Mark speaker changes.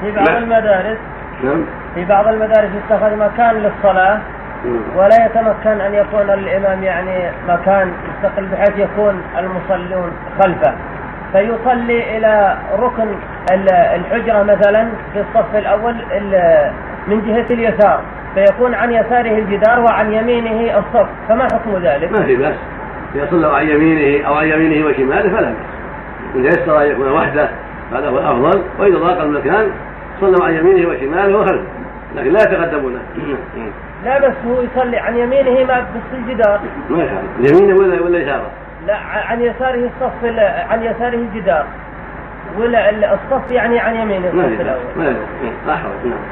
Speaker 1: في بعض
Speaker 2: لا.
Speaker 1: المدارس
Speaker 2: نعم
Speaker 1: في بعض المدارس يتخذ مكان للصلاة
Speaker 2: نعم.
Speaker 1: ولا يتمكن أن يكون للإمام يعني مكان مستقل بحيث يكون المصلون خلفه فيصلي إلى ركن ال- الحجرة مثلا في الصف الأول ال- من جهة اليسار فيكون عن يساره الجدار وعن يمينه الصف فما حكم ذلك؟
Speaker 2: ما في بأس إذا صلى عن يمينه أو عن يمينه وشماله فلا بأس إذا يسر أن يكون وحده هذا هو الأفضل وإذا ضاق المكان صلوا عن يمينه وشماله وخلفه لكن لا يتقدمونه نعم.
Speaker 1: لا بس هو يصلي عن يمينه ما بس الجدار
Speaker 2: ما يخالف يمينه ولا ولا يساره
Speaker 1: لا ع- عن يساره الصف ال- عن يساره الجدار ولا ال- الصف يعني عن يمينه
Speaker 2: ما
Speaker 1: الصف
Speaker 2: في بأس
Speaker 1: الأول
Speaker 2: ما في بأس. لا حرج نعم